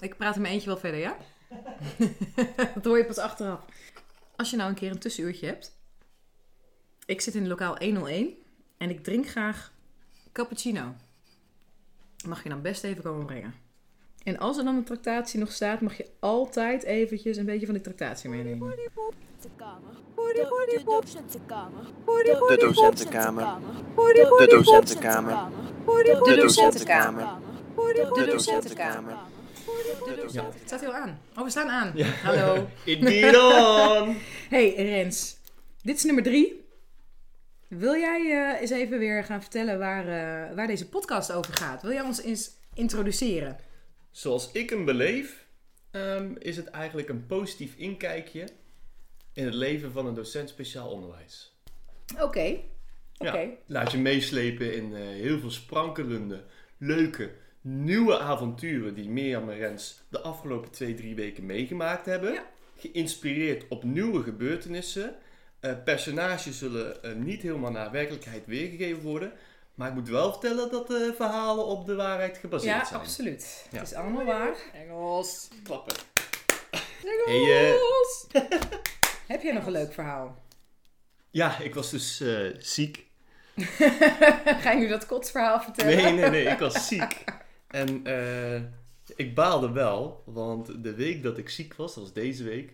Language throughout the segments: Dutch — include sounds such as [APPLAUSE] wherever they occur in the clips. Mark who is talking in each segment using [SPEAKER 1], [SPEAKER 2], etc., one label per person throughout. [SPEAKER 1] Ik praat in mijn eentje wel verder, ja? [LAUGHS] dat hoor je pas achteraf. Als je nou een keer een tussenuurtje hebt. Ik zit in lokaal 101 en ik drink graag cappuccino. Mag je dan best even komen brengen. En als er dan een tractatie nog staat, mag je altijd eventjes een beetje van die tractatie meenemen.
[SPEAKER 2] docentenkamer.
[SPEAKER 3] Hoodie, hoodie,
[SPEAKER 2] De docentenkamer.
[SPEAKER 3] De
[SPEAKER 2] docentenkamer.
[SPEAKER 3] De
[SPEAKER 2] docentenkamer.
[SPEAKER 3] De
[SPEAKER 4] docentenkamer.
[SPEAKER 3] De docentenkamer.
[SPEAKER 1] Ja. Het staat heel aan. Oh, we staan aan. Hallo.
[SPEAKER 4] Indeed on!
[SPEAKER 1] Hey Rens, dit is nummer drie. Wil jij eh, eens even weer gaan vertellen waar, eh, waar deze podcast over gaat? Wil jij ons eens introduceren?
[SPEAKER 4] [LAUGHS] Zoals ik hem beleef, ehm, is het eigenlijk een positief inkijkje in het leven van een docent speciaal onderwijs.
[SPEAKER 1] Oké. Oké.
[SPEAKER 4] Ja, laat je meeslepen in eh, heel veel sprankelende, leuke, nieuwe avonturen die Mirjam en Rens de afgelopen twee, drie weken meegemaakt hebben.
[SPEAKER 1] Ja.
[SPEAKER 4] Geïnspireerd op nieuwe gebeurtenissen. Eh, personages zullen eh, niet helemaal naar werkelijkheid weergegeven worden. Maar ik moet wel vertellen dat de verhalen op de waarheid gebaseerd
[SPEAKER 1] Ja,
[SPEAKER 4] zijn.
[SPEAKER 1] absoluut.
[SPEAKER 4] Ja.
[SPEAKER 1] Het is allemaal waar. Engels.
[SPEAKER 4] Klappen.
[SPEAKER 1] Engels.
[SPEAKER 4] Hey, eh.
[SPEAKER 1] Heb jij nog een leuk verhaal? [LAUGHS]
[SPEAKER 4] Ja, ik was dus eh, ziek.
[SPEAKER 1] Ga je nu dat kotsverhaal vertellen?
[SPEAKER 4] Nee, nee, nee, ik was ziek. En eh, ik baalde wel, want de week dat ik ziek was, dat was deze week,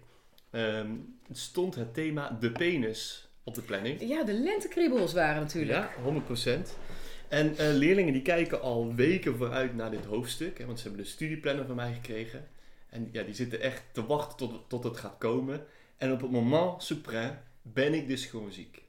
[SPEAKER 4] ehm, stond het thema de penis op de planning.
[SPEAKER 1] Ja, de lentekriebels waren natuurlijk.
[SPEAKER 4] Ja, 100%. En eh, leerlingen die kijken al weken vooruit naar dit hoofdstuk, hè, want ze hebben de studieplanner van mij gekregen. En ja, die zitten echt te wachten tot, tot het gaat komen. En op het moment suprême ben ik dus gewoon ziek.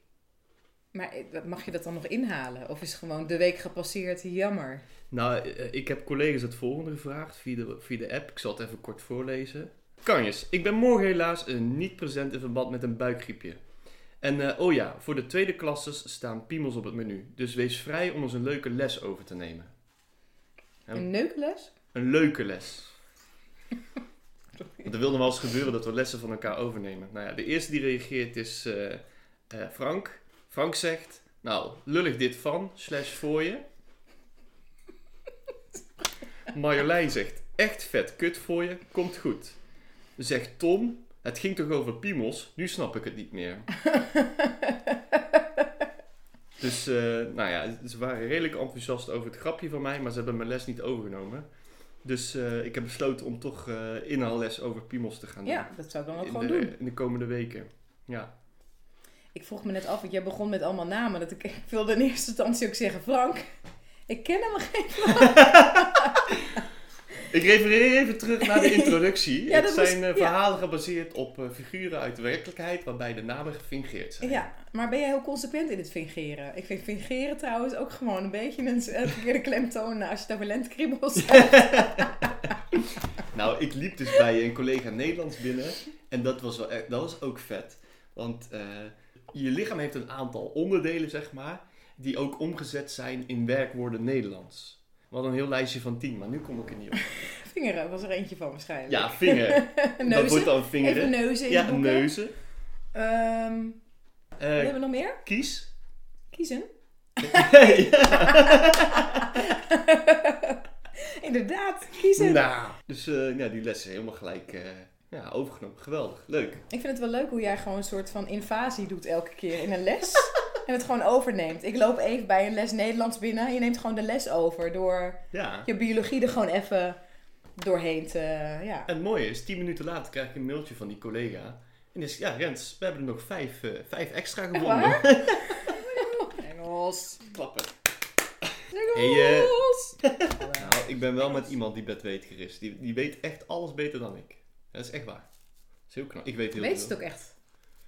[SPEAKER 1] Maar eh, mag je dat dan nog inhalen? Of is gewoon de week gepasseerd jammer?
[SPEAKER 4] Nou, eh, ik heb collega's het volgende gevraagd via de, via de app. Ik zal het even kort voorlezen. Kanjes, ik ben morgen helaas eh, niet present in verband met een buikgriepje. En eh, oh ja, voor de tweede klasses staan piemels op het menu. Dus wees vrij om ons een leuke les over te nemen. Ja.
[SPEAKER 1] Een neukles?
[SPEAKER 4] Een leuke les. Want er wilde wel eens gebeuren dat we lessen van elkaar overnemen. Nou ja, de eerste die reageert is eh, eh, Frank. Frank zegt, nou, lullig dit van, slash voor je. Marjolein zegt, echt vet kut voor je, komt goed. Zegt Tom, het ging toch over piemels, nu snap ik het niet
[SPEAKER 1] [LAUGHS]
[SPEAKER 4] meer. Dus, eh, nou ja, ze waren redelijk enthousiast over het grapje van mij, maar ze hebben mijn les niet overgenomen. Dus eh, ik heb besloten om toch eh inhaalles over piemels te gaan doen.
[SPEAKER 1] Ja, dat zou ik dan ook
[SPEAKER 4] in,
[SPEAKER 1] gewoon
[SPEAKER 4] de,
[SPEAKER 1] doen.
[SPEAKER 4] in de komende weken. Ja.
[SPEAKER 1] Ik vroeg me net af, want jij begon met allemaal namen. Dat ik, [LAUGHS] ik wilde in eerste instantie ook zeggen Frank. Ik ken hem geen.
[SPEAKER 4] Ik refereer even terug naar
[SPEAKER 1] [LAUGHS]
[SPEAKER 4] de introductie.
[SPEAKER 1] Ja,
[SPEAKER 4] het
[SPEAKER 1] dat was-
[SPEAKER 4] zijn eh,
[SPEAKER 1] ja.
[SPEAKER 4] verhalen gebaseerd op eh, figuren uit de werkelijkheid waarbij de namen gefingeerd zijn.
[SPEAKER 1] Ja, maar ben jij heel consequent in het fingeren? Ik vind fingeren trouwens ook gewoon een beetje een een verkeerde klemtoon als je het over lentekriebels
[SPEAKER 4] [LAUGHS]
[SPEAKER 1] hebt.
[SPEAKER 4] Nou, ik liep dus bij een collega Nederlands binnen en dat was, wel, e- dat was ook vet. Want eh, je lichaam heeft een aantal onderdelen, zeg maar, die ook omgezet zijn in werkwoorden Nederlands. We hadden een heel lijstje van tien, maar nu kom ik er niet op.
[SPEAKER 1] Vingeren was er eentje van waarschijnlijk.
[SPEAKER 4] Ja, vinger. Dat wordt
[SPEAKER 1] [LAUGHS] neuzen.
[SPEAKER 4] dan
[SPEAKER 1] Even
[SPEAKER 4] vingeren.
[SPEAKER 1] neuzen in
[SPEAKER 4] Ja,
[SPEAKER 1] de boeken.
[SPEAKER 4] neuzen.
[SPEAKER 1] Ehm, wat
[SPEAKER 4] Eh
[SPEAKER 1] hebben we nog meer? [LAUGHS]
[SPEAKER 4] kies.
[SPEAKER 1] Kiezen?
[SPEAKER 4] ja.
[SPEAKER 1] Inderdaad, kiezen.
[SPEAKER 4] Nou, dus eh, ja, die les is helemaal gelijk eh, ja, overgenomen. Geweldig, leuk.
[SPEAKER 1] Ik vind het wel leuk hoe jij gewoon een soort van invasie doet elke keer in een
[SPEAKER 4] [LAUGHS]
[SPEAKER 1] les. en het gewoon overneemt. Ik loop even bij een les Nederlands binnen. Je neemt gewoon de les over door
[SPEAKER 4] Ja.
[SPEAKER 1] je biologie er gewoon even doorheen te... Ja.
[SPEAKER 4] En het mooie is, tien minuten later krijg ik een mailtje van die collega. En die is, ja Rens, we hebben er nog vijf, eh, vijf extra gewonnen.
[SPEAKER 1] Engels.
[SPEAKER 4] [LAUGHS] Klappen. Hey, eh,
[SPEAKER 1] Engels.
[SPEAKER 4] Nou, ik ben wel met iemand die bedweter is. Die, die weet echt alles beter dan ik. Dat is echt waar. Dat is heel knap. Ik weet heel
[SPEAKER 1] Weet
[SPEAKER 4] veel.
[SPEAKER 1] het ook echt?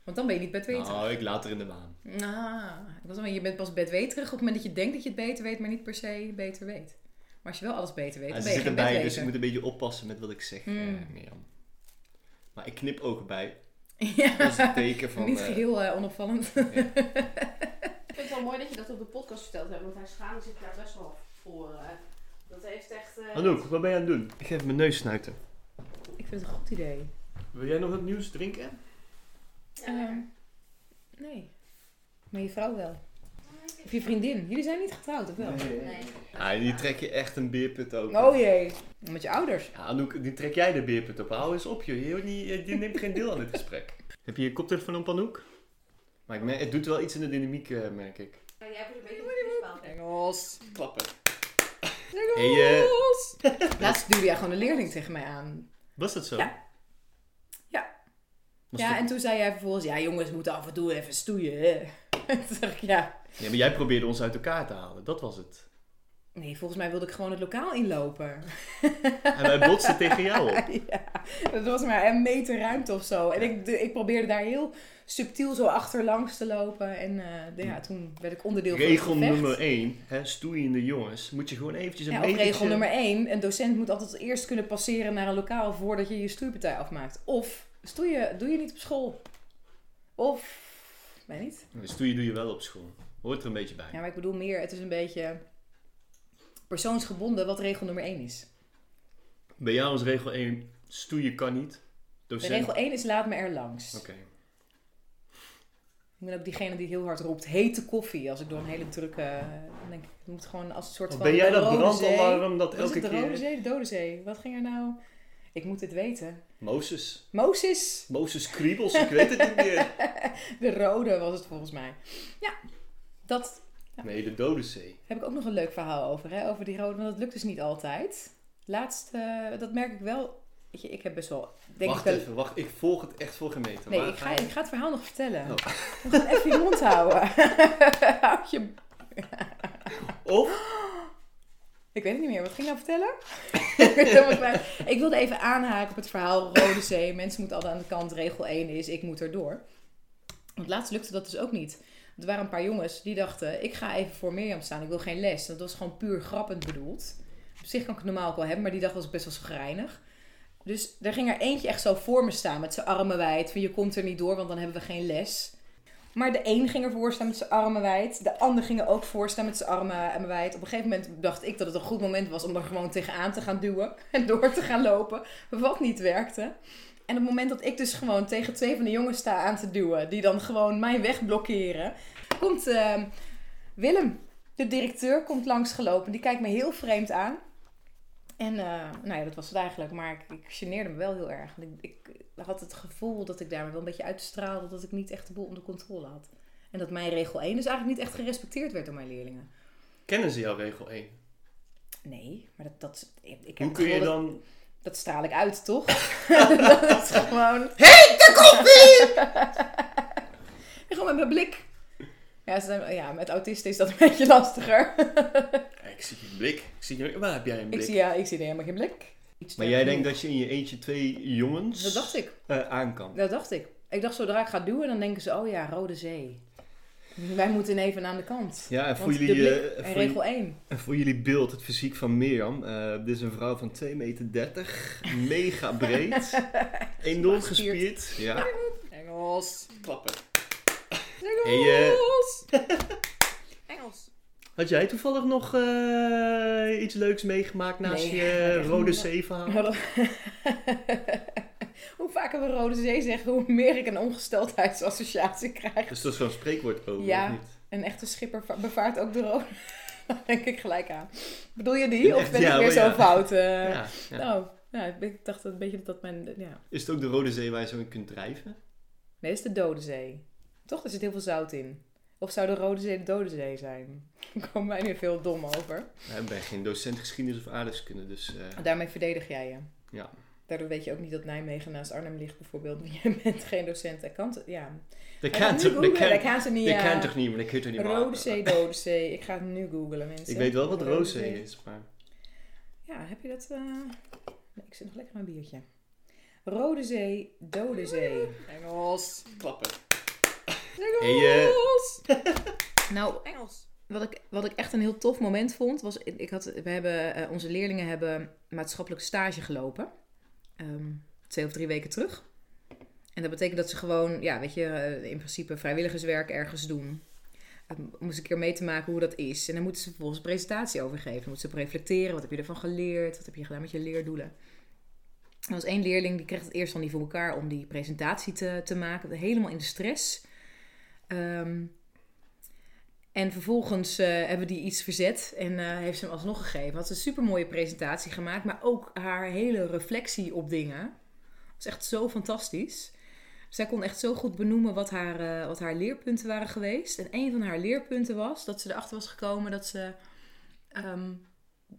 [SPEAKER 1] Want dan ben je niet bedweterig.
[SPEAKER 4] Nou, ik laat er in de maan.
[SPEAKER 1] Ah, ik was al- je bent pas bedweterig op het moment dat je denkt dat je het beter weet, maar niet per se beter weet. Maar als je wel alles beter weet,
[SPEAKER 4] Ja,
[SPEAKER 1] dan
[SPEAKER 4] ze
[SPEAKER 1] ben je
[SPEAKER 4] zit
[SPEAKER 1] geen
[SPEAKER 4] erbij,
[SPEAKER 1] bedweter.
[SPEAKER 4] dus ik moet een beetje oppassen met wat ik zeg, eh,
[SPEAKER 1] Mm.
[SPEAKER 4] Mirjam. Maar ik knip ogen
[SPEAKER 1] [LAUGHS]
[SPEAKER 4] bij.
[SPEAKER 1] Ja.
[SPEAKER 4] Dat is een teken van...
[SPEAKER 1] Niet
[SPEAKER 4] eh,
[SPEAKER 1] geheel eh, onopvallend. [LAUGHS]
[SPEAKER 5] Ik vind het wel mooi dat je dat op de podcast verteld hebt, want hij schaamde zich daar best wel voor. eh. Dat heeft echt. eh,
[SPEAKER 4] Anouk, wat ben je aan het doen? Ik geef mijn neus snuiten.
[SPEAKER 1] ik vind het een goed idee.
[SPEAKER 4] Wil jij nog wat nieuws drinken?
[SPEAKER 5] ja, lekker.
[SPEAKER 1] Ehm, nee. Maar je vrouw wel.
[SPEAKER 5] Ik
[SPEAKER 1] Of je vriendin. Jullie zijn niet getrouwd, of wel?
[SPEAKER 5] Nee.
[SPEAKER 4] Ah, die trek je echt een beerput open.
[SPEAKER 1] Oh jee. Met je ouders.
[SPEAKER 4] Ja, Anouk, die trek jij de beerput op. Hou eens op, joh. Je, hoort niet, eh, die neemt geen deel aan dit gesprek. [LAUGHS] Heb je je koptelefoon op, Anouk? Maar ik merk- het doet wel iets in de dynamiek, eh, merk ik.
[SPEAKER 5] Jij hebt een beetje een
[SPEAKER 1] Engels.
[SPEAKER 4] Klappen.
[SPEAKER 1] Engels.
[SPEAKER 4] Hey,
[SPEAKER 1] eh. [LAUGHS] Laatst duwde jij gewoon een leerling tegen mij aan.
[SPEAKER 4] Was dat zo?
[SPEAKER 1] Ja. Ja.
[SPEAKER 4] Was
[SPEAKER 1] ja,
[SPEAKER 4] dat-
[SPEAKER 1] en toen zei jij vervolgens, ja jongens, we moeten af en toe even stoeien. [LAUGHS] hè. toen dacht ik, ja.
[SPEAKER 4] ja, maar jij probeerde ons uit elkaar te halen. Dat was
[SPEAKER 1] [LAUGHS]
[SPEAKER 4] het.
[SPEAKER 1] Nee, volgens mij wilde ik gewoon het lokaal inlopen. [LAUGHS]
[SPEAKER 4] En wij botsten tegen jou op.
[SPEAKER 1] ja, dat was maar een meter ruimte of zo. En ik, ik probeerde daar heel subtiel zo achterlangs te lopen. En eh, ja, toen werd ik onderdeel
[SPEAKER 4] Regel
[SPEAKER 1] van het gevecht.
[SPEAKER 4] nummer 1, hè, stoeiende jongens, moet je gewoon eventjes een
[SPEAKER 1] Ja, of
[SPEAKER 4] metertje...
[SPEAKER 1] regel nummer 1. Een docent moet altijd eerst kunnen passeren naar een lokaal voordat je je stoeipartij afmaakt. Of stoei je, doe je niet op school. Of, weet niet.
[SPEAKER 4] Stoeien doe je wel op school. Hoort er een beetje bij.
[SPEAKER 1] Ja, maar ik bedoel meer, het is een beetje persoonsgebonden wat regel nummer 1 is.
[SPEAKER 4] Bij jou is regel 1, stoeien kan niet.
[SPEAKER 1] De
[SPEAKER 4] Docent...
[SPEAKER 1] regel 1 is laat me er langs.
[SPEAKER 4] Oké.
[SPEAKER 1] Ik ben ook diegene die heel hard roept hete koffie als ik door een hele drukke... Dan denk ik, het moet gewoon als een soort van...
[SPEAKER 4] Oh, Ben jij
[SPEAKER 1] de
[SPEAKER 4] dat
[SPEAKER 1] Rode Zee-
[SPEAKER 4] brandalarm dat
[SPEAKER 1] Was
[SPEAKER 4] elke
[SPEAKER 1] het de Rode
[SPEAKER 4] keer...
[SPEAKER 1] Zee, de Dode Zee? Wat ging er nou... Ik moet dit weten.
[SPEAKER 4] Mozes.
[SPEAKER 1] Mozes,
[SPEAKER 4] Mozes kriebels, ik weet het niet meer.
[SPEAKER 1] [LAUGHS] de Rode was het volgens mij. Ja, dat
[SPEAKER 4] Nee, de dode zee.
[SPEAKER 1] Heb ik ook nog een leuk verhaal over, hè? over die rode, want dat lukt dus niet altijd. Laatst, eh, dat merk ik wel. Weet je, ik heb best wel. Denk
[SPEAKER 4] wacht
[SPEAKER 1] ik wel
[SPEAKER 4] even, wacht. Ik volg het echt voor geen meter.
[SPEAKER 1] nee,
[SPEAKER 4] Waar
[SPEAKER 1] ik ga,
[SPEAKER 4] je-
[SPEAKER 1] ik ga het verhaal nog vertellen.
[SPEAKER 4] Oh.
[SPEAKER 1] We gaan even je mond houden. [LAUGHS] Houd je...
[SPEAKER 4] Of,
[SPEAKER 1] Ik weet het niet meer, wat ging ik nou vertellen? [LAUGHS] ik, ben het helemaal kwijt. ik wilde even aanhaken op het verhaal Rode Zee. Mensen moeten altijd aan de kant. Regel 1 is, ik moet erdoor. Want laatst lukte dat dus ook niet. Er waren een paar jongens die dachten, ik ga even voor Mirjam staan. Ik wil geen les. Dat was gewoon puur grappend bedoeld. Op zich kan ik het normaal ook wel hebben, maar die dag was ik best wel schrijnig. Dus er ging er eentje echt zo voor me staan met zijn armen wijd. Van je komt er niet door, want dan hebben we geen les. Maar de een ging ervoor staan met zijn armen wijd. De ander ging er ook voor staan met zijn armen en wijd. Op een gegeven moment dacht ik dat het een goed moment was om er gewoon tegenaan te gaan duwen. [LAUGHS] En door te gaan lopen. Wat niet werkte. En op het moment dat ik dus gewoon tegen twee van de jongens sta aan te duwen. Die dan gewoon mijn weg blokkeren. Komt eh, Willem, de directeur, komt langsgelopen. Die kijkt me heel vreemd aan. En eh, nou ja, dat was het eigenlijk. Maar ik, ik geneerde me wel heel erg. Want ik, ik had het gevoel dat ik daarmee wel een beetje uitstraalde dat ik niet echt de boel onder controle had. En dat mijn regel 1 dus eigenlijk niet echt gerespecteerd werd door mijn leerlingen.
[SPEAKER 4] kennen ze jouw regel 1?
[SPEAKER 1] Nee, maar dat... dat ik ik heb
[SPEAKER 4] Hoe
[SPEAKER 1] het
[SPEAKER 4] kun je
[SPEAKER 1] gevoel dat-
[SPEAKER 4] dan...
[SPEAKER 1] Dat straal ik uit,
[SPEAKER 4] [LAUGHS]
[SPEAKER 1] toch? [LAUGHS] dat is gewoon... Hé, de [LAUGHS] koffie! gewoon met mijn blik. Ja, ze zijn- ja, met autisten is dat een beetje
[SPEAKER 4] [LAUGHS]
[SPEAKER 1] lastiger.
[SPEAKER 4] Ik zie je blik. Ik zie je... Waar heb jij een
[SPEAKER 1] ik,
[SPEAKER 4] blik?
[SPEAKER 1] zie, ja, ik zie er helemaal geen blik. Iets
[SPEAKER 4] Maar
[SPEAKER 1] te-
[SPEAKER 4] jij denkt dat je in je eentje twee jongens
[SPEAKER 1] Dat dacht ik.
[SPEAKER 4] eh, aan kan.
[SPEAKER 1] Dat dacht ik. Ik dacht, zodra ik ga duwen, dan denken ze, oh ja, Rode Zee. Wij moeten even aan de kant.
[SPEAKER 4] Ja, en voor
[SPEAKER 1] Want
[SPEAKER 4] jullie,
[SPEAKER 1] de blik
[SPEAKER 4] eh,
[SPEAKER 1] en
[SPEAKER 4] voor,
[SPEAKER 1] regel 1.
[SPEAKER 4] En voor jullie beeld, het fysiek van Mirjam. eh, dit is een vrouw van 2,30 meter, mega
[SPEAKER 1] [LAUGHS]
[SPEAKER 4] breed, enorm
[SPEAKER 1] Gespierd.
[SPEAKER 4] gespierd. Ja,
[SPEAKER 1] Engels.
[SPEAKER 4] klappen.
[SPEAKER 1] Engels.
[SPEAKER 4] Hey, eh,
[SPEAKER 1] Engels.
[SPEAKER 4] Had jij toevallig nog eh, iets leuks meegemaakt naast
[SPEAKER 1] Nee,
[SPEAKER 4] je
[SPEAKER 1] echt
[SPEAKER 4] rode
[SPEAKER 1] niet.
[SPEAKER 4] zeeverhaal?
[SPEAKER 1] [LAUGHS] hoe vaker we Rode Zee zeggen, hoe meer ik een ongesteldheidsassociatie krijg.
[SPEAKER 4] Dus dat is zo'n spreekwoord over,
[SPEAKER 1] Ja.
[SPEAKER 4] of niet?
[SPEAKER 1] Een echte schipper va- bevaart ook de rode. [LAUGHS] Daar denk ik gelijk aan. Bedoel je
[SPEAKER 4] Een
[SPEAKER 1] die? Of
[SPEAKER 4] echt-
[SPEAKER 1] ben
[SPEAKER 4] ja,
[SPEAKER 1] ik weer
[SPEAKER 4] oh ja.
[SPEAKER 1] zo fout? eh?
[SPEAKER 4] ja, ja.
[SPEAKER 1] Oh, ja, ik dacht een beetje dat dat mijn... Ja.
[SPEAKER 4] Is het ook de rode zee waar je zo in kunt drijven?
[SPEAKER 1] Nee, dat is de Dode Zee. Toch? Er zit heel veel zout in. Of zou de Rode Zee de Dode Zee zijn? [LAUGHS] Ik kom mij nu veel dom over.
[SPEAKER 4] Nou, ik ben geen docent geschiedenis of aardrijkskunde, dus eh,
[SPEAKER 1] Daarmee verdedig jij je.
[SPEAKER 4] Ja.
[SPEAKER 1] Daardoor weet je ook niet dat Nijmegen naast Arnhem ligt bijvoorbeeld. Want jij bent geen docent. Ik kan het... Ja. Ik
[SPEAKER 4] dat kan
[SPEAKER 1] het nu
[SPEAKER 4] toch dat
[SPEAKER 1] googlen.
[SPEAKER 4] kan-
[SPEAKER 1] Dat gaan ze niet...
[SPEAKER 4] dat
[SPEAKER 1] ja.
[SPEAKER 4] kan toch niet, maar dat kun je toch niet
[SPEAKER 1] Rode
[SPEAKER 4] maken?
[SPEAKER 1] Zee, Dode Zee. Ik ga het nu googlen, mensen.
[SPEAKER 4] Ik weet wel wat
[SPEAKER 1] Rode
[SPEAKER 4] rode zee
[SPEAKER 1] Zee.
[SPEAKER 4] is, maar...
[SPEAKER 1] Ja, heb je dat? eh? Nee, ik zit nog lekker aan een biertje. Rode Zee, Dode Zee.
[SPEAKER 4] eh.
[SPEAKER 1] Engels.
[SPEAKER 4] Klappen. Hey, eh, [LAUGHS]
[SPEAKER 1] Engels. nou, Engels. Wat ik, wat ik echt een heel tof moment vond, was... Ik ik had, we hebben, eh, onze leerlingen hebben maatschappelijk stage gelopen. Ehm, twee of drie weken terug. En dat betekent dat ze gewoon, ja, weet je, eh, in principe vrijwilligerswerk ergens doen. Eh, moest ik er mee te maken hoe dat is. En dan moeten ze vervolgens een presentatie over geven. Dan moeten ze op reflecteren. Wat heb je ervan geleerd? Wat heb je gedaan met je leerdoelen? Er was één leerling die kreeg het eerst van die voor elkaar om die presentatie te, te maken. Helemaal in de stress. Ehm, En vervolgens eh, hebben die iets verzet en eh, heeft ze hem alsnog gegeven. Had ze een supermooie presentatie gemaakt, maar ook haar hele reflectie op dingen. was echt zo fantastisch. Zij kon echt zo goed benoemen wat haar, eh, wat haar leerpunten waren geweest. En een van haar leerpunten was dat ze erachter was gekomen dat ze ehm,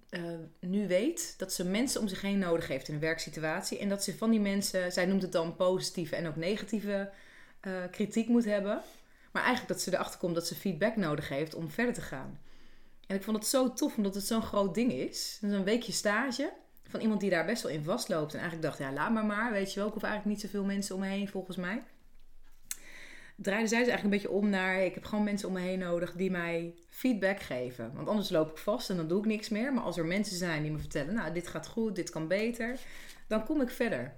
[SPEAKER 1] eh, nu weet dat ze mensen om zich heen nodig heeft in een werksituatie. En dat ze van die mensen, zij noemt het dan positieve en ook negatieve eh, kritiek moet hebben. Maar eigenlijk dat ze erachter komt dat ze feedback nodig heeft om verder te gaan. En ik vond het zo tof, omdat het zo'n groot ding is. Dus een weekje stage van iemand die daar best wel in vastloopt. En eigenlijk dacht, ja, laat maar maar. Weet je wel, ik hoef eigenlijk niet zoveel mensen om me heen, volgens mij. Draaide zij ze eigenlijk een beetje om naar, ik heb gewoon mensen om me heen nodig die mij feedback geven. Want anders loop ik vast en dan doe ik niks meer. Maar als er mensen zijn die me vertellen, nou, dit gaat goed, dit kan beter, dan kom ik verder.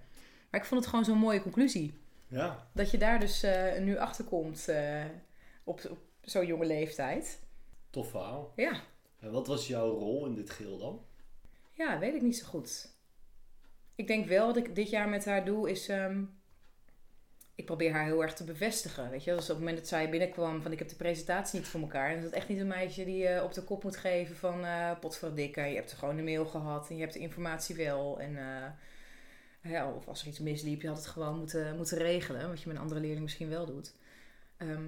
[SPEAKER 1] Maar ik vond het gewoon zo'n mooie conclusie.
[SPEAKER 6] Ja.
[SPEAKER 1] Dat je daar dus eh, nu achter komt eh, op, op zo'n jonge leeftijd.
[SPEAKER 4] Tof verhaal.
[SPEAKER 1] Ja.
[SPEAKER 4] En wat was jouw rol in dit geheel dan?
[SPEAKER 1] ja, weet ik niet zo goed. Ik denk wel wat ik dit jaar met haar doe is. ehm, ik probeer haar heel erg te bevestigen. Weet je, als op het moment dat zij binnenkwam van ik heb de presentatie niet voor elkaar. En dat is echt niet een meisje die je op de kop moet geven van eh potverdikke. Je hebt gewoon een mail gehad en je hebt de informatie wel. En, eh, ja, of als er iets misliep, je had het gewoon moeten, moeten regelen. Wat je met een andere leerling misschien wel doet. Ehm,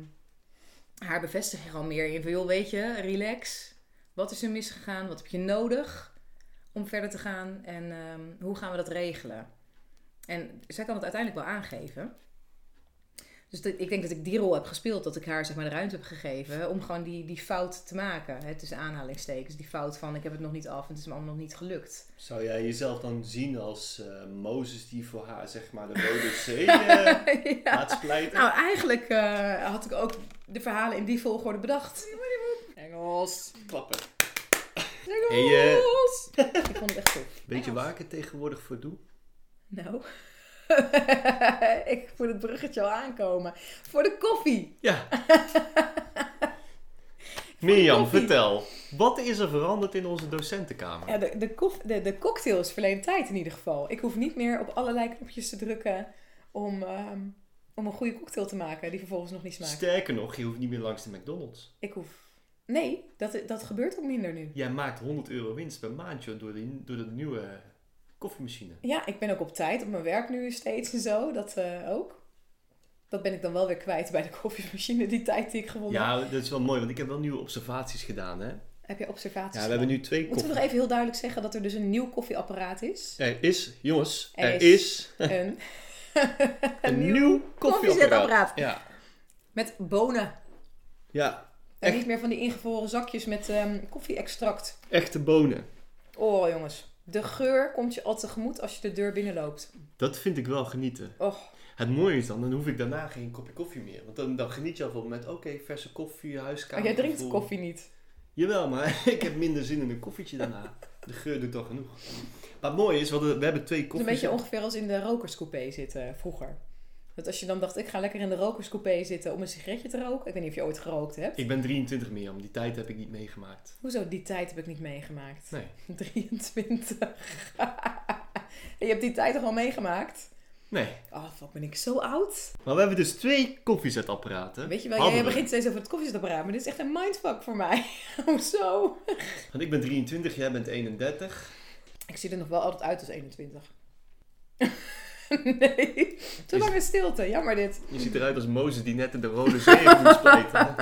[SPEAKER 1] haar bevestig je gewoon meer in van joh, weet je, relax. Wat is er misgegaan? Wat heb je nodig? om verder te gaan en ehm, hoe gaan we dat regelen? En zij kan het uiteindelijk wel aangeven. Dus dat- ik denk dat ik die rol heb gespeeld, dat ik haar zeg maar, de ruimte heb gegeven om gewoon die, die fout te maken. Hè, tussen aanhalingstekens, die fout van ik heb het nog niet af en het is me allemaal nog niet gelukt. [LAUGHS]
[SPEAKER 4] Zou jij jezelf dan zien als eh, Mozes die voor haar zeg maar de Rode [LAUGHS] Zee eh,
[SPEAKER 1] Ja.
[SPEAKER 4] laat splijten?
[SPEAKER 1] Nou, eigenlijk eh, had ik ook de verhalen in die volgorde bedacht. Engels.
[SPEAKER 4] Klappen.
[SPEAKER 1] Engels.
[SPEAKER 4] Hey, eh,
[SPEAKER 1] Ik vond het echt tof.
[SPEAKER 4] Weet je waar ik het tegenwoordig voor doe?
[SPEAKER 1] Nou, [LAUGHS] ik voel het bruggetje al aankomen. Voor de koffie.
[SPEAKER 4] Ja. [LAUGHS] Mirjam,
[SPEAKER 1] koffie.
[SPEAKER 4] vertel. Wat is er veranderd in onze docentenkamer?
[SPEAKER 1] Ja, de, de, kof, de, de cocktail is verleden tijd in ieder geval. Ik hoef niet meer op allerlei knopjes te drukken om, ehm, om een goede cocktail te maken die vervolgens nog niet smaakt.
[SPEAKER 4] Sterker nog, je hoeft niet meer langs de McDonald's.
[SPEAKER 1] Ik hoef... Nee, dat, dat gebeurt ook minder nu.
[SPEAKER 4] Jij maakt 100 euro winst per maandje door, die, door de nieuwe koffiemachine.
[SPEAKER 1] Ja, ik ben ook op tijd op mijn werk nu steeds en zo. Dat eh, ook. Dat ben ik dan wel weer kwijt bij de koffiemachine, die tijd die ik gewonnen heb.
[SPEAKER 4] Ja, dat is wel mooi, want ik heb wel nieuwe observaties gedaan, hè?
[SPEAKER 1] Heb je observaties?
[SPEAKER 4] Ja, we hebben
[SPEAKER 1] gedaan?
[SPEAKER 4] nu twee
[SPEAKER 1] Moeten
[SPEAKER 4] koffie.
[SPEAKER 1] we nog even heel duidelijk zeggen dat er dus een nieuw koffieapparaat
[SPEAKER 4] [LAUGHS]
[SPEAKER 1] is?
[SPEAKER 4] Er is, jongens,
[SPEAKER 1] Er
[SPEAKER 4] er,
[SPEAKER 1] is.
[SPEAKER 4] is,
[SPEAKER 1] Een,
[SPEAKER 4] een nieuw
[SPEAKER 1] koffiezetapparaat.
[SPEAKER 4] koffiezetapparaat. Ja,
[SPEAKER 1] met bonen.
[SPEAKER 4] ja,
[SPEAKER 1] En
[SPEAKER 4] Echt?
[SPEAKER 1] niet meer van die ingevroren zakjes met ehm koffie-extract.
[SPEAKER 4] echte bonen.
[SPEAKER 1] Oh jongens, de geur komt je al tegemoet als je de deur binnenloopt.
[SPEAKER 4] Dat vind ik wel genieten.
[SPEAKER 1] Och,
[SPEAKER 4] Het mooie is dan, dan hoef ik daarna geen kopje koffie meer. Want dan, dan geniet je al van het moment, oké, verse koffie,
[SPEAKER 1] maar
[SPEAKER 4] huiskamer.
[SPEAKER 1] Oh, jij drinkt
[SPEAKER 4] gevoel.
[SPEAKER 1] koffie niet.
[SPEAKER 4] Jawel, maar [LAUGHS] ik heb minder zin in een koffietje daarna. De geur doet al genoeg. Maar het mooie is, we, hadden- we hebben twee
[SPEAKER 1] Het is een
[SPEAKER 4] koffies.
[SPEAKER 1] beetje ongeveer als in de rokerscoupé zitten eh, vroeger. Dat als je dan dacht, ik ga lekker in de rokerscoupé zitten om een sigaretje te roken. Ik weet niet of je ooit gerookt hebt.
[SPEAKER 4] Ik ben 23 meer, om die tijd heb ik niet meegemaakt.
[SPEAKER 1] Hoezo, die tijd heb ik niet meegemaakt. [LAUGHS]
[SPEAKER 4] Nee.
[SPEAKER 1] 23. [LAUGHS] je hebt die tijd toch al meegemaakt?
[SPEAKER 4] Nee.
[SPEAKER 1] Oh, fuck, ben ik zo oud?
[SPEAKER 4] Maar we hebben dus twee koffiezetapparaten.
[SPEAKER 1] Weet je wel,
[SPEAKER 4] Hadden
[SPEAKER 1] jij
[SPEAKER 4] we.
[SPEAKER 1] begint steeds over het koffiezetapparaat, maar dit is echt een mindfuck voor mij. [LAUGHS] Hoezo?
[SPEAKER 4] Want ik ben 23, jij bent 31.
[SPEAKER 1] Ik zie er nog wel altijd uit als 21. [LAUGHS] nee, te
[SPEAKER 4] Is-
[SPEAKER 1] lange stilte. Jammer dit.
[SPEAKER 4] Je ziet eruit als Mozes die net in de Rode Zee heeft moeten splijten.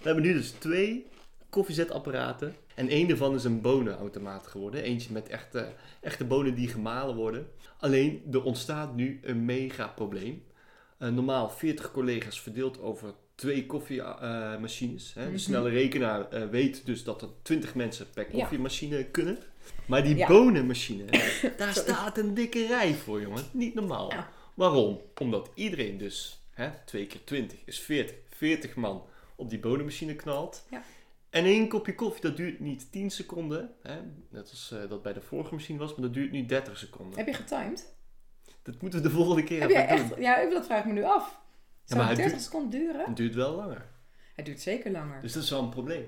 [SPEAKER 4] We hebben nu dus twee koffiezetapparaten. En één daarvan is een bonenautomaat geworden. Eentje met echte, echte bonen die gemalen worden. Alleen, er ontstaat nu een mega probleem. Eh, normaal 40 collega's verdeeld over twee koffiemachines. hè.
[SPEAKER 1] Mhm.
[SPEAKER 4] De snelle rekenaar eh, weet dus dat er 20 mensen per
[SPEAKER 1] Ja.
[SPEAKER 4] koffiemachine kunnen. Maar die
[SPEAKER 1] Ja.
[SPEAKER 4] bonenmachine,
[SPEAKER 1] [COUGHS]
[SPEAKER 4] daar staat een dikke rij voor, jongen. Niet normaal.
[SPEAKER 1] Ja.
[SPEAKER 4] Waarom? Omdat iedereen dus, hè, 2 keer 20 is 40, 40 man op die bonenmachine knalt.
[SPEAKER 1] Ja.
[SPEAKER 4] En één kopje koffie, dat duurt niet 10 seconden, hè, net als eh, dat bij de vorige machine was, maar dat duurt nu 30 seconden.
[SPEAKER 1] Heb je getimed?
[SPEAKER 4] Dat moeten we de volgende keer
[SPEAKER 1] Heb
[SPEAKER 4] even
[SPEAKER 1] jij echt?
[SPEAKER 4] doen.
[SPEAKER 1] Ja, ik- dat vraag ik me nu af. Zou
[SPEAKER 4] maar
[SPEAKER 1] het
[SPEAKER 4] hij
[SPEAKER 1] 30
[SPEAKER 4] duurt-
[SPEAKER 1] seconden duren?
[SPEAKER 4] Het duurt wel langer.
[SPEAKER 1] Het duurt zeker langer.
[SPEAKER 4] Dus dat is wel een probleem.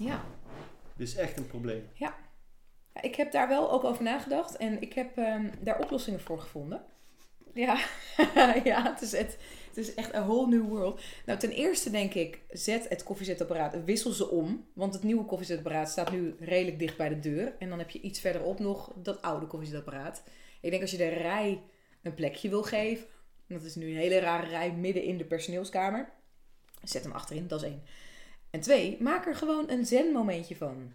[SPEAKER 1] Ja.
[SPEAKER 4] Dit is echt een probleem.
[SPEAKER 1] Ja, Ik heb daar wel ook over nagedacht en ik heb ehm, daar oplossingen voor gevonden. Ja, [LAUGHS] ja het, is het, het is echt een whole new world. Nou, ten eerste denk ik, zet het koffiezetapparaat, wissel ze om. Want het nieuwe koffiezetapparaat staat nu redelijk dicht bij de deur. En dan heb je iets verderop nog dat oude koffiezetapparaat. Ik denk als je de rij een plekje wil geven, dat is nu een hele rare rij midden in de personeelskamer. Zet hem achterin, dat is één. En twee, maak er gewoon een zen-momentje van.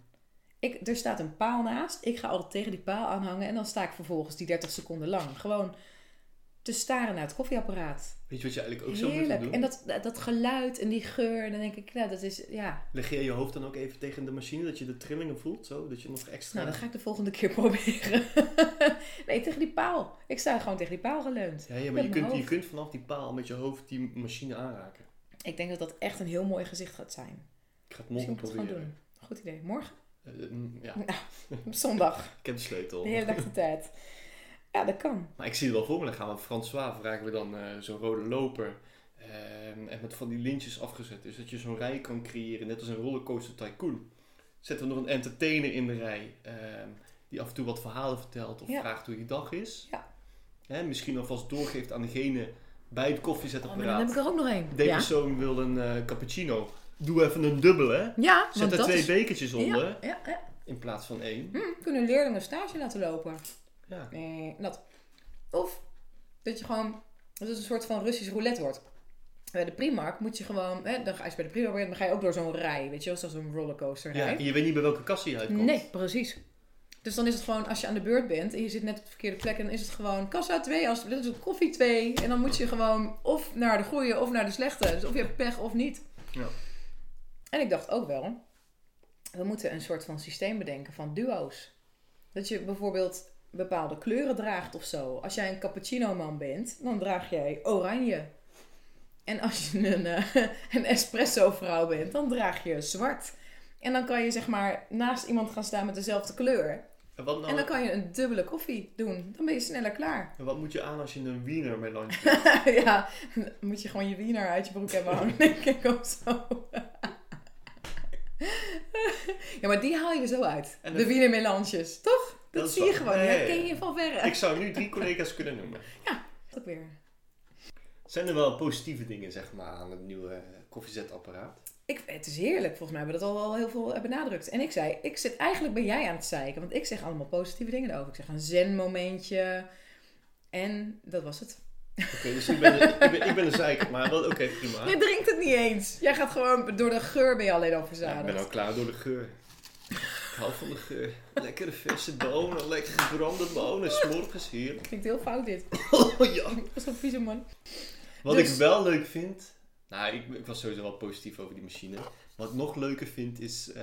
[SPEAKER 1] Ik, er staat een paal naast. Ik ga altijd tegen die paal aanhangen. En dan sta ik vervolgens die 30 seconden lang gewoon te staren naar het koffieapparaat.
[SPEAKER 4] Weet je wat je eigenlijk ook zou moeten
[SPEAKER 1] Heerlijk.
[SPEAKER 4] doen?
[SPEAKER 1] En dat, dat geluid en die geur. En dan denk ik, nou, dat is, ja.
[SPEAKER 4] Leg je je hoofd dan ook even tegen de machine, dat je de trillingen voelt, zo? Dat je nog extra...
[SPEAKER 1] Nou, dat ga ik de volgende keer [LAUGHS] proberen. nee, tegen die paal. Ik sta gewoon tegen die paal geleund.
[SPEAKER 4] ja, ja, maar
[SPEAKER 1] met
[SPEAKER 4] je
[SPEAKER 1] mijn
[SPEAKER 4] kunt, je
[SPEAKER 1] hoofd.
[SPEAKER 4] kunt vanaf die paal met je hoofd die machine aanraken.
[SPEAKER 1] Ik denk dat dat echt een heel mooi gezicht gaat zijn.
[SPEAKER 4] Ik ga
[SPEAKER 1] Misschien
[SPEAKER 4] het morgen
[SPEAKER 1] moet ik het gewoon
[SPEAKER 4] proberen.
[SPEAKER 1] doen. Goed idee. Morgen? [LAUGHS]
[SPEAKER 4] Eh, mm, ja,
[SPEAKER 1] Zondag.
[SPEAKER 4] ik heb de sleutel.
[SPEAKER 1] De hele dag de tijd. Ja, dat kan.
[SPEAKER 4] Maar ik zie het wel voor me, dan gaan we François vragen we dan eh, zo'n rode loper. ehm, en met van die lintjes afgezet. Dus dat je zo'n rij kan creëren, net als een rollercoaster tycoon. Zetten we nog een entertainer in de rij. ehm, die af en toe wat verhalen vertelt of
[SPEAKER 1] Ja.
[SPEAKER 4] vraagt hoe je dag is.
[SPEAKER 1] Ja.
[SPEAKER 4] Hè, misschien alvast doorgeeft aan degene bij het
[SPEAKER 1] Oh, maar dan
[SPEAKER 4] koffiezetapparaat.
[SPEAKER 1] heb ik er ook nog één.
[SPEAKER 4] De
[SPEAKER 1] Ja.
[SPEAKER 4] persoon wil een eh, cappuccino. Doe even een dubbel, hè?
[SPEAKER 1] Ja,
[SPEAKER 4] Zet
[SPEAKER 1] want
[SPEAKER 4] er
[SPEAKER 1] dat
[SPEAKER 4] twee
[SPEAKER 1] is...
[SPEAKER 4] bekertjes onder
[SPEAKER 1] Ja, ja, ja.
[SPEAKER 4] in plaats van één.
[SPEAKER 1] Hm, kunnen leerlingen een stage laten lopen.
[SPEAKER 4] Ja.
[SPEAKER 1] Nee, dat. Of dat je gewoon, dat het een soort van Russisch roulette wordt. Bij de Primark moet je gewoon, hè, dan ga je bij de Primark bent, dan ga je ook door zo'n rij, weet je wel, zoals een rollercoaster
[SPEAKER 4] Ja,
[SPEAKER 1] rij.
[SPEAKER 4] en je weet niet bij welke kassie je uitkomt.
[SPEAKER 1] nee, precies. Dus dan is het gewoon, als je aan de beurt bent en je zit net op de verkeerde plek, dan is het gewoon kassa 2, als, dat is een koffie 2. En dan moet je gewoon of naar de goede of naar de slechte. Dus of je hebt pech of niet.
[SPEAKER 4] Ja.
[SPEAKER 1] En ik dacht ook wel, we moeten een soort van systeem bedenken van duo's. Dat je bijvoorbeeld bepaalde kleuren draagt of zo. Als jij een cappuccino man bent, dan draag jij oranje. En als je een, eh, [LAUGHS] een espresso vrouw bent, dan draag je zwart. En dan kan je zeg maar naast iemand gaan staan met dezelfde kleur.
[SPEAKER 4] En wat, nou-
[SPEAKER 1] En dan kan je een dubbele koffie doen. Dan ben je sneller klaar. [LAUGHS]
[SPEAKER 4] en wat moet je aan als je een wiener melange
[SPEAKER 1] ja, dan moet je gewoon je wiener uit je broek
[SPEAKER 4] [LAUGHS]
[SPEAKER 1] hebben hangen, denk ik ook zo. [LAUGHS] ja, maar die haal je er zo uit.
[SPEAKER 4] En
[SPEAKER 1] de
[SPEAKER 4] dat-
[SPEAKER 1] wiener melanges, toch? Dat,
[SPEAKER 4] Dat is
[SPEAKER 1] zie je
[SPEAKER 4] waar.
[SPEAKER 1] gewoon.
[SPEAKER 4] Nee.
[SPEAKER 1] Dat ken je van verre.
[SPEAKER 4] Ik zou nu drie collega's kunnen noemen.
[SPEAKER 1] Ook weer.
[SPEAKER 4] Zijn er wel positieve dingen, zeg maar, aan het nieuwe eh, koffiezetapparaat?
[SPEAKER 1] Ik, het is heerlijk. Volgens mij hebben we dat al wel heel veel eh, benadrukt. En ik zei, ik zit, eigenlijk ben jij aan het zeiken. Want ik zeg allemaal positieve dingen over. Ik zeg een zen momentje. En dat was het.
[SPEAKER 4] Oké, dus ik ben, ik ben, ik ben een zeiker, maar wel- oké, prima.
[SPEAKER 1] Je drinkt het niet eens. Jij gaat gewoon door de geur ben je alleen al
[SPEAKER 4] Ja, ik
[SPEAKER 1] verzadigd.
[SPEAKER 4] ben al klaar door de geur. Ik hou van de geur. Lekkere verse bonen, lekker gebrande bonen, smorgens heerlijk.
[SPEAKER 1] Klinkt heel fout dit.
[SPEAKER 4] Oh ja.
[SPEAKER 1] Dat is een vieze man.
[SPEAKER 4] Wat
[SPEAKER 1] Dus-
[SPEAKER 4] ik wel leuk vind. Nou, ik, ik was sowieso wel positief over die machine. Wat ik nog leuker vind is. eh,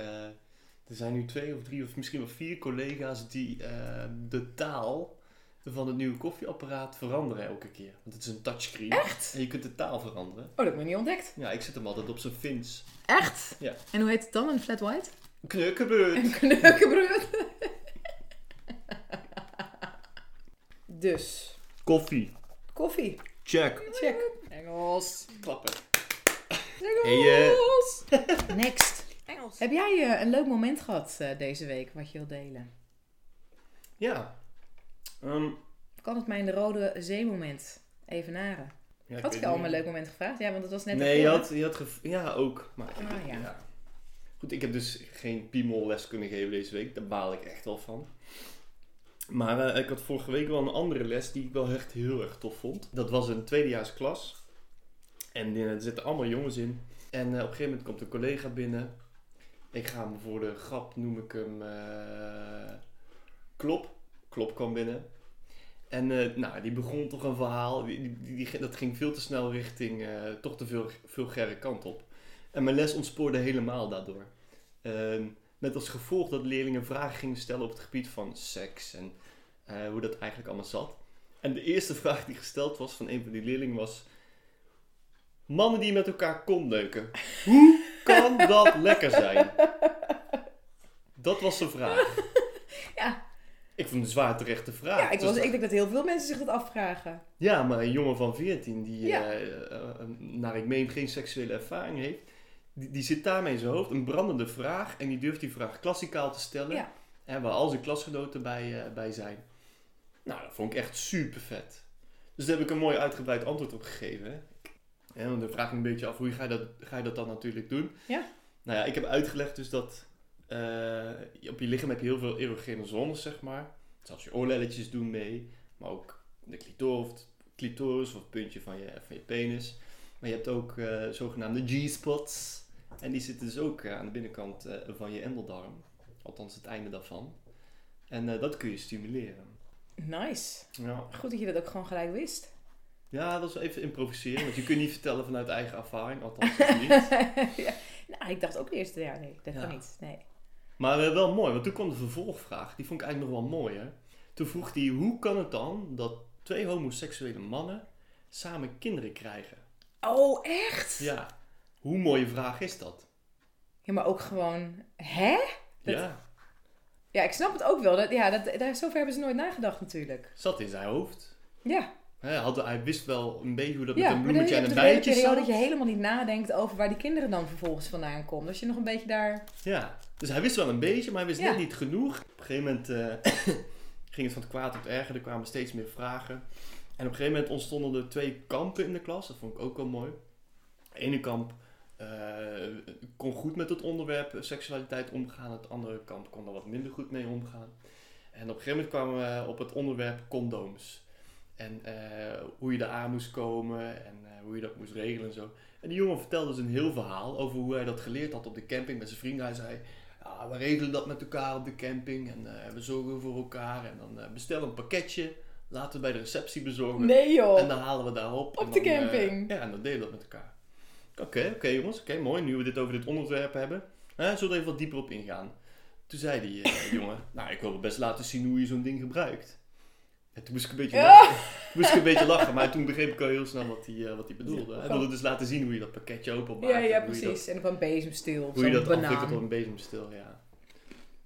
[SPEAKER 4] er zijn nu twee of drie of misschien wel vier collega's die eh, de taal van het nieuwe koffieapparaat veranderen elke keer. Want het is een touchscreen.
[SPEAKER 1] Echt?
[SPEAKER 4] En je kunt de taal veranderen.
[SPEAKER 1] Oh, dat heb ik nog niet ontdekt.
[SPEAKER 4] Ja, ik zet hem altijd op zijn fins.
[SPEAKER 1] Echt?
[SPEAKER 4] Ja.
[SPEAKER 1] En hoe heet het dan? Een flat white?
[SPEAKER 4] Knukkenbeurt.
[SPEAKER 1] [LAUGHS] Een kneukenbrood. dus,
[SPEAKER 4] Koffie.
[SPEAKER 1] koffie.
[SPEAKER 4] Check.
[SPEAKER 1] Check. Engels.
[SPEAKER 4] Klappen.
[SPEAKER 1] Engels.
[SPEAKER 4] Hey, eh.
[SPEAKER 1] Next. Engels. Heb jij eh, een leuk moment gehad eh, deze week wat je wilt delen?
[SPEAKER 4] Ja. Ehm,
[SPEAKER 1] Kan het mijn rode zeemoment evenaren?
[SPEAKER 4] ja, ik
[SPEAKER 1] Had
[SPEAKER 4] weet
[SPEAKER 1] ik al om
[SPEAKER 4] niet.
[SPEAKER 1] een leuk moment gevraagd? Ja, want het was net
[SPEAKER 4] Nee,
[SPEAKER 1] ervoor,
[SPEAKER 4] je
[SPEAKER 1] hè?
[SPEAKER 4] had, je had gev- ja, ook. Maar
[SPEAKER 1] Ah, ja.
[SPEAKER 4] Goed, ik heb dus geen piemel les kunnen geven deze week. Daar baal ik echt wel van. Maar eh, ik had vorige week wel een andere les die ik wel echt heel erg tof vond. Dat was een tweedejaars klas. En eh, er zitten allemaal jongens in. En eh, op een gegeven moment komt een collega binnen. Ik ga hem voor de grap, noem ik hem eh, Klop. Klop kwam binnen. En eh, nou, die begon toch een verhaal. Die, die, die- dat ging veel te snel richting eh, toch te veel, vulgaire kant op. En mijn les ontspoorde helemaal daardoor. Ehm, met als gevolg dat leerlingen vragen gingen stellen op het gebied van seks en eh, hoe dat eigenlijk allemaal zat. En de eerste vraag die gesteld was van een van die leerlingen was: Mannen die met elkaar kontneuken, hoe kan dat lekker zijn? Dat was de vraag.
[SPEAKER 1] [LAUGHS] Ja.
[SPEAKER 4] Ik vond het een zwaar terechte vraag.
[SPEAKER 1] Ja, ik,
[SPEAKER 4] Dus
[SPEAKER 1] was, ik denk dat heel veel mensen zich dat afvragen.
[SPEAKER 4] ja, maar een jongen van 14 die,
[SPEAKER 1] Ja.
[SPEAKER 4] eh, eh, naar ik meen, geen seksuele ervaring heeft, die, die zit daarmee in zijn hoofd, een brandende vraag, en die durft die vraag klassikaal te stellen,
[SPEAKER 1] Ja.
[SPEAKER 4] en waar al zijn klasgenoten bij, eh, bij zijn. Nou, dat vond ik echt super vet. Dus daar heb ik een mooi uitgebreid antwoord op gegeven. hè. Ja, want dan vraag ik me een beetje af, hoe ga je dat, ga je dat dan natuurlijk doen?
[SPEAKER 1] Ja.
[SPEAKER 4] Nou ja, ik heb uitgelegd dus dat eh, je- op je lichaam heb je heel veel erogene zones, zeg maar. Zelfs je oorlelletjes doen mee, maar ook de clitoris of, clitoris of het puntje van je, van je penis. Maar je hebt ook eh, zogenaamde G-spots. En die zitten dus ook eh, aan de binnenkant eh, van je endeldarm. Althans, het einde daarvan. En eh, dat kun je stimuleren.
[SPEAKER 1] Nice.
[SPEAKER 4] Ja.
[SPEAKER 1] Goed dat je dat ook gewoon gelijk
[SPEAKER 4] [LAUGHS]
[SPEAKER 1] wist.
[SPEAKER 4] ja, dat is wel even improviseren. Want je kunt niet vertellen vanuit eigen ervaring. Althans,
[SPEAKER 1] [LAUGHS]
[SPEAKER 4] dat niet.
[SPEAKER 1] ja. Nou, ik dacht ook eerst, ja, nee, dat
[SPEAKER 4] Ja.
[SPEAKER 1] kan niet. Nee.
[SPEAKER 4] Maar eh, wel mooi, want toen kwam de vervolgvraag. Die vond ik eigenlijk nog wel mooi, hè. Toen vroeg hij, hoe kan het dan dat twee homoseksuele mannen samen kinderen krijgen?
[SPEAKER 1] Oh, echt?
[SPEAKER 4] Ja, hoe mooie vraag is dat?
[SPEAKER 1] Ja, maar ook gewoon, hè? Dat-
[SPEAKER 4] Ja,
[SPEAKER 1] Ja, ik snap het ook wel. Dat, ja, dat, daar, zover hebben ze nooit nagedacht natuurlijk.
[SPEAKER 4] zat in zijn hoofd.
[SPEAKER 1] Ja,
[SPEAKER 4] Hij, had, hij wist wel een beetje hoe dat
[SPEAKER 1] ja
[SPEAKER 4] met een
[SPEAKER 1] maar dan
[SPEAKER 4] bloemetje
[SPEAKER 1] heb
[SPEAKER 4] en
[SPEAKER 1] je
[SPEAKER 4] een
[SPEAKER 1] toch een hele
[SPEAKER 4] bijtje
[SPEAKER 1] periode
[SPEAKER 4] zat.
[SPEAKER 1] dat je helemaal niet nadenkt over waar die kinderen dan vervolgens vandaan komen. Dus je nog een beetje daar...
[SPEAKER 4] Ja, dus hij wist wel een beetje, maar hij wist
[SPEAKER 1] Ja.
[SPEAKER 4] net niet genoeg. Op een gegeven moment eh, [COUGHS] ging het van het kwaad tot het erger. Er kwamen steeds meer vragen. En op een gegeven moment ontstonden er twee kampen in de klas. Dat vond ik ook wel mooi. De ene kamp eh, kon goed met het onderwerp seksualiteit omgaan. Het andere kamp kon er wat minder goed mee omgaan. En op een gegeven moment kwamen we op het onderwerp condooms. En eh, hoe je daar aan moest komen en eh, hoe je dat moest regelen en zo. En die jongen vertelde dus een heel verhaal over hoe hij dat geleerd had op de camping met zijn vrienden. Hij zei, ja, we regelen dat met elkaar op de camping en eh, we zorgen voor elkaar. En dan eh, bestel een pakketje, laten we bij de receptie bezorgen.
[SPEAKER 1] Nee
[SPEAKER 4] En
[SPEAKER 1] joh!
[SPEAKER 4] dan halen we daarop.
[SPEAKER 1] Op
[SPEAKER 4] en
[SPEAKER 1] de
[SPEAKER 4] dan, eh,
[SPEAKER 1] camping.
[SPEAKER 4] ja, en dan delen we dat met elkaar. Oké, oké jongens. Oké, mooi. Nu we dit over dit onderwerp hebben. Hè, zullen we er even wat dieper op ingaan. Toen zei die eh,
[SPEAKER 1] [LAUGHS]
[SPEAKER 4] jongen, nou ik wil wel best laten zien hoe je zo'n ding gebruikt. En toen moest ik een beetje, lachen. Toen moest ik een beetje lachen. Maar toen begreep ik al heel snel wat hij eh, wat hij bedoelde. Hij wilde dus laten zien hoe je dat pakketje openmaakt.
[SPEAKER 1] Ja, ja,
[SPEAKER 4] en hoe je dat-
[SPEAKER 1] precies. En dan kwam bezemstil of
[SPEAKER 4] Hoe
[SPEAKER 1] zo'n
[SPEAKER 4] je dat afwikkelt
[SPEAKER 1] banaan.
[SPEAKER 4] op een bezemstil, ja.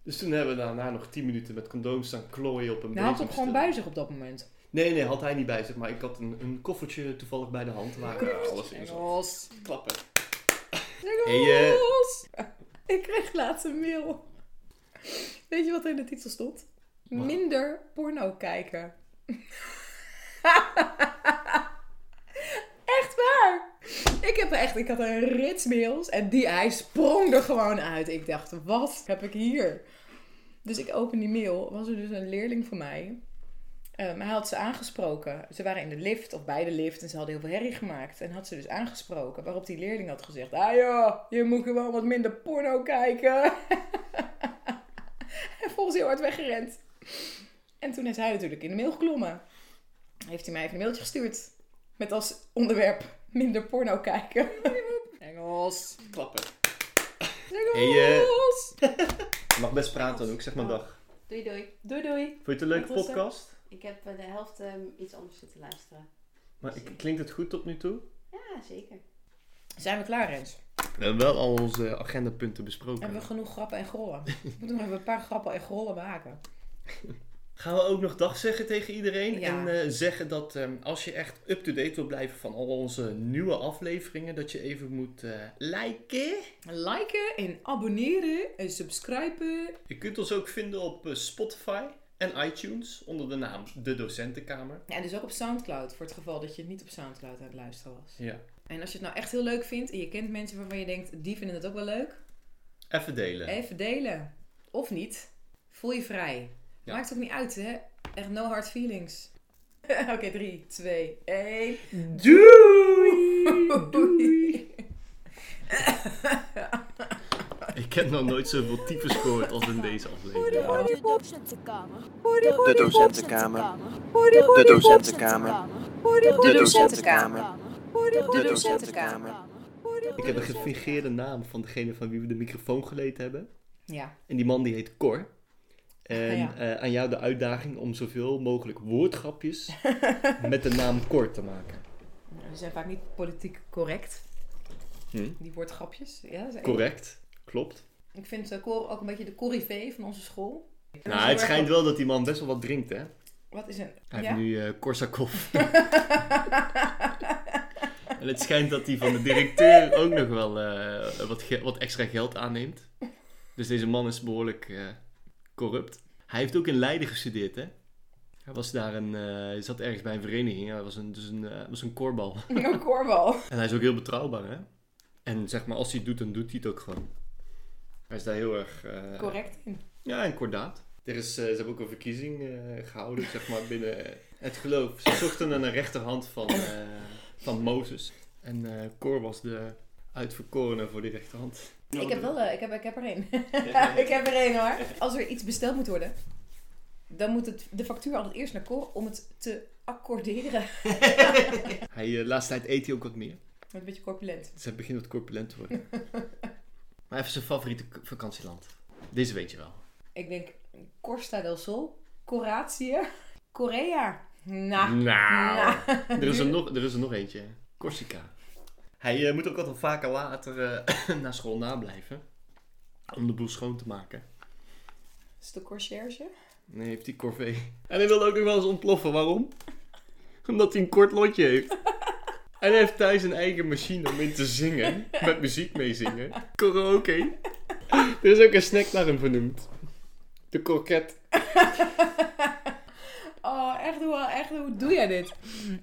[SPEAKER 4] Dus toen hebben we daarna nog 10 minuten met condooms staan klooien op een
[SPEAKER 1] Nou, had hem
[SPEAKER 4] bezemstil.
[SPEAKER 1] gewoon bij zich op dat moment.
[SPEAKER 4] Nee, nee, had hij niet bij zich, maar ik had een, een koffertje toevallig bij de hand waar eh, alles in zat.
[SPEAKER 1] Engels.
[SPEAKER 4] Klappen.
[SPEAKER 1] Engels!
[SPEAKER 4] Hey, eh.
[SPEAKER 1] [LAUGHS] Ik kreeg laatst een mail. Weet je wat er in de titel stond? Minder porno kijken. [LAUGHS] echt waar! Ik, heb er echt, ik had een rits mails en die, hij sprong er gewoon uit. Ik dacht, wat heb ik hier? Dus ik open die mail. Was er dus een leerling van mij. Ehm, hij had ze aangesproken. Ze waren in de lift of bij de lift en ze hadden heel veel herrie gemaakt. En had ze dus aangesproken. Waarop die leerling had gezegd: Ah joh, je moet gewoon wat minder porno kijken. [LAUGHS] en volgens heel hard weggerend. En toen is hij natuurlijk in de mail geklommen. Heeft hij mij even een mailtje gestuurd. Met als onderwerp minder porno kijken. [LAUGHS] Engels.
[SPEAKER 4] Klappen. Hey, eh.
[SPEAKER 1] Engels.
[SPEAKER 4] Je mag best praten ook, zeg maar dag.
[SPEAKER 5] Doei doei.
[SPEAKER 1] Doei doei.
[SPEAKER 4] Vond je het een leuke
[SPEAKER 5] Wat was dat?
[SPEAKER 4] podcast?
[SPEAKER 5] Ik heb eh, de helft eh, iets anders zitten luisteren.
[SPEAKER 4] Maar ik- klinkt het goed tot nu toe?
[SPEAKER 5] Ja, zeker.
[SPEAKER 1] Zijn we klaar, Rens?
[SPEAKER 4] We hebben wel al onze agendapunten besproken.
[SPEAKER 1] Hebben we genoeg grappen en grollen? [LAUGHS] We moeten nog even een paar grappen en grollen maken.
[SPEAKER 4] Gaan we ook nog dag zeggen tegen iedereen.
[SPEAKER 1] Ja.
[SPEAKER 4] En eh, zeggen dat ehm, als je echt up-to-date wil blijven van al onze nieuwe afleveringen, dat je even moet eh, liken.
[SPEAKER 1] Liken en abonneren en subscriben.
[SPEAKER 4] Je kunt ons ook vinden op eh, Spotify en iTunes onder de naam De Docentenkamer.
[SPEAKER 1] Ja, en dus ook op Soundcloud, voor het geval dat je het niet op Soundcloud aan het luisteren was.
[SPEAKER 4] Ja.
[SPEAKER 1] En als je het nou echt heel leuk vindt en je kent mensen waarvan je denkt, die vinden het ook wel leuk,
[SPEAKER 4] Even delen.
[SPEAKER 1] even delen. Of niet. Voel je vrij.
[SPEAKER 4] Ja.
[SPEAKER 1] Maakt ook niet uit, hè? Echt no hard feelings. [LAUGHS] Oké, drie, twee, één. [LAUGHS] Doei!
[SPEAKER 4] Ik heb nog nooit zoveel types gehoord als in deze aflevering.
[SPEAKER 3] De
[SPEAKER 2] docentenkamer.
[SPEAKER 3] De
[SPEAKER 2] docentenkamer.
[SPEAKER 3] De
[SPEAKER 2] docentenkamer.
[SPEAKER 3] De
[SPEAKER 2] docentenkamer.
[SPEAKER 3] De docentenkamer.
[SPEAKER 2] De docentenkamer.
[SPEAKER 4] Ik heb een gefingeerde naam van degene van wie we de microfoon geleend hebben.
[SPEAKER 1] Ja,
[SPEAKER 4] En die man die heet Cor. En
[SPEAKER 1] Ah, ja.
[SPEAKER 4] eh, aan jou de uitdaging om zoveel mogelijk woordgrapjes met de naam Cor te maken.
[SPEAKER 1] die zijn vaak niet politiek correct.
[SPEAKER 4] Hm.
[SPEAKER 1] Die woordgrapjes. Ja, dat is echt-
[SPEAKER 4] Correct, klopt.
[SPEAKER 1] Ik vind eh, Cor ook een beetje de corrivee van onze school.
[SPEAKER 4] Nou, het schijnt wel dat die man best wel wat drinkt, hè?
[SPEAKER 1] Wat is een...
[SPEAKER 4] Hij
[SPEAKER 1] Ja?
[SPEAKER 4] heeft nu eh Korsakov. en het schijnt dat hij van de directeur ook nog wel eh, wat, ge- wat extra geld aanneemt. Dus deze man is behoorlijk eh, corrupt. Hij heeft ook in Leiden gestudeerd, hè? Hij was daar een, eh, hij zat ergens bij een vereniging. Hij was een, dus een, eh, was een korbal.
[SPEAKER 1] [LAUGHS] Een korbal.
[SPEAKER 4] En hij is ook heel betrouwbaar, hè? En zeg maar, als hij het doet, dan doet hij het ook gewoon. Hij is daar heel erg... eh,
[SPEAKER 1] Correct in.
[SPEAKER 4] Ja, en kordaat. Er is, eh, ze hebben ook een verkiezing eh, gehouden, zeg maar, binnen eh, het geloof. Ze zochten een rechterhand van, eh, van Mozes. En eh Cor was de uitverkorene voor die rechterhand.
[SPEAKER 1] Ik heb, wel, eh, ik, heb, ik heb er één.
[SPEAKER 4] Ja.
[SPEAKER 1] [LAUGHS] ik heb er één hoor. Als er iets besteld moet worden, dan moet het, de factuur altijd eerst naar Cor om het te accorderen. [LAUGHS]
[SPEAKER 4] Hij, eh, laatste tijd eet hij ook wat meer.
[SPEAKER 1] Met een beetje corpulent.
[SPEAKER 4] Dus hij begint wat corpulent te worden. maar even zijn favoriete k- vakantieland. Deze weet je wel.
[SPEAKER 1] Ik denk Costa del Sol, Coratie, Korea. Nou,
[SPEAKER 4] Nou,
[SPEAKER 1] nou.
[SPEAKER 4] [LAUGHS] er is er nog, er is er nog eentje. Corsica. Hij eh, moet ook altijd vaker later eh, [CLEARS THROAT] na school nablijven. Om de boel schoon te maken.
[SPEAKER 1] Is het de concierge?
[SPEAKER 4] Nee, heeft hij corvée. En hij wilde ook nog wel eens ontploffen. Waarom? Omdat hij een kort lotje heeft. En hij heeft thuis een eigen machine om in te zingen. Met muziek meezingen. Karaoke. Er is ook een snack naar hem vernoemd. De kroket.
[SPEAKER 1] Oh, echt hoe, echt hoe doe jij dit?